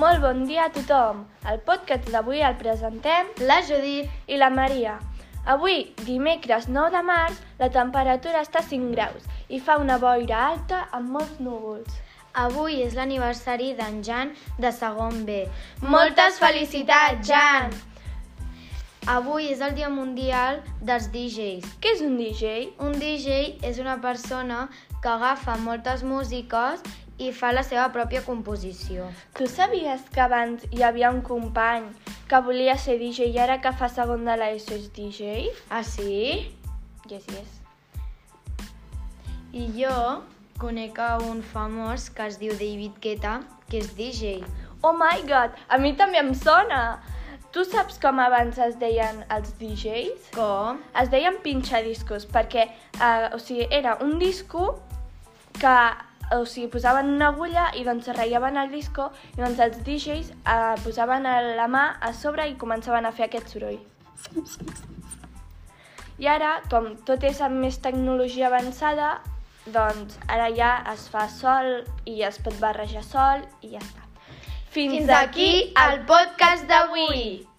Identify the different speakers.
Speaker 1: Molt bon dia a tothom. El podcast d'avui el presentem la Judit i la Maria. Avui, dimecres 9 de març, la temperatura està a 5 graus i fa una boira alta amb molts núvols.
Speaker 2: Avui és l'aniversari d'en Jan de segon B.
Speaker 1: Moltes felicitats, Jan!
Speaker 2: Avui és el Dia Mundial dels DJs.
Speaker 1: Què és un DJ?
Speaker 2: Un DJ és una persona que agafa moltes músiques i fa la seva pròpia composició.
Speaker 1: Tu sabies que abans hi havia un company que volia ser DJ i ara que fa segon de l'ESO és DJ?
Speaker 2: Ah, sí?
Speaker 1: Yes, yes.
Speaker 2: I jo conec a un famós que es diu David Guetta, que és DJ.
Speaker 1: Oh my god, a mi també em sona! Tu saps com abans es deien els DJs?
Speaker 2: Com?
Speaker 1: Es deien pinxadiscos perquè eh, o sigui, era un disco que o sigui, posaven una agulla i doncs ratllaven el disco i doncs els DJs eh, posaven el- la mà a sobre i començaven a fer aquest soroll. I ara, com tot és amb més tecnologia avançada, doncs ara ja es fa sol i es pot barrejar sol i ja està. Fins,
Speaker 2: podcast
Speaker 1: d'avui.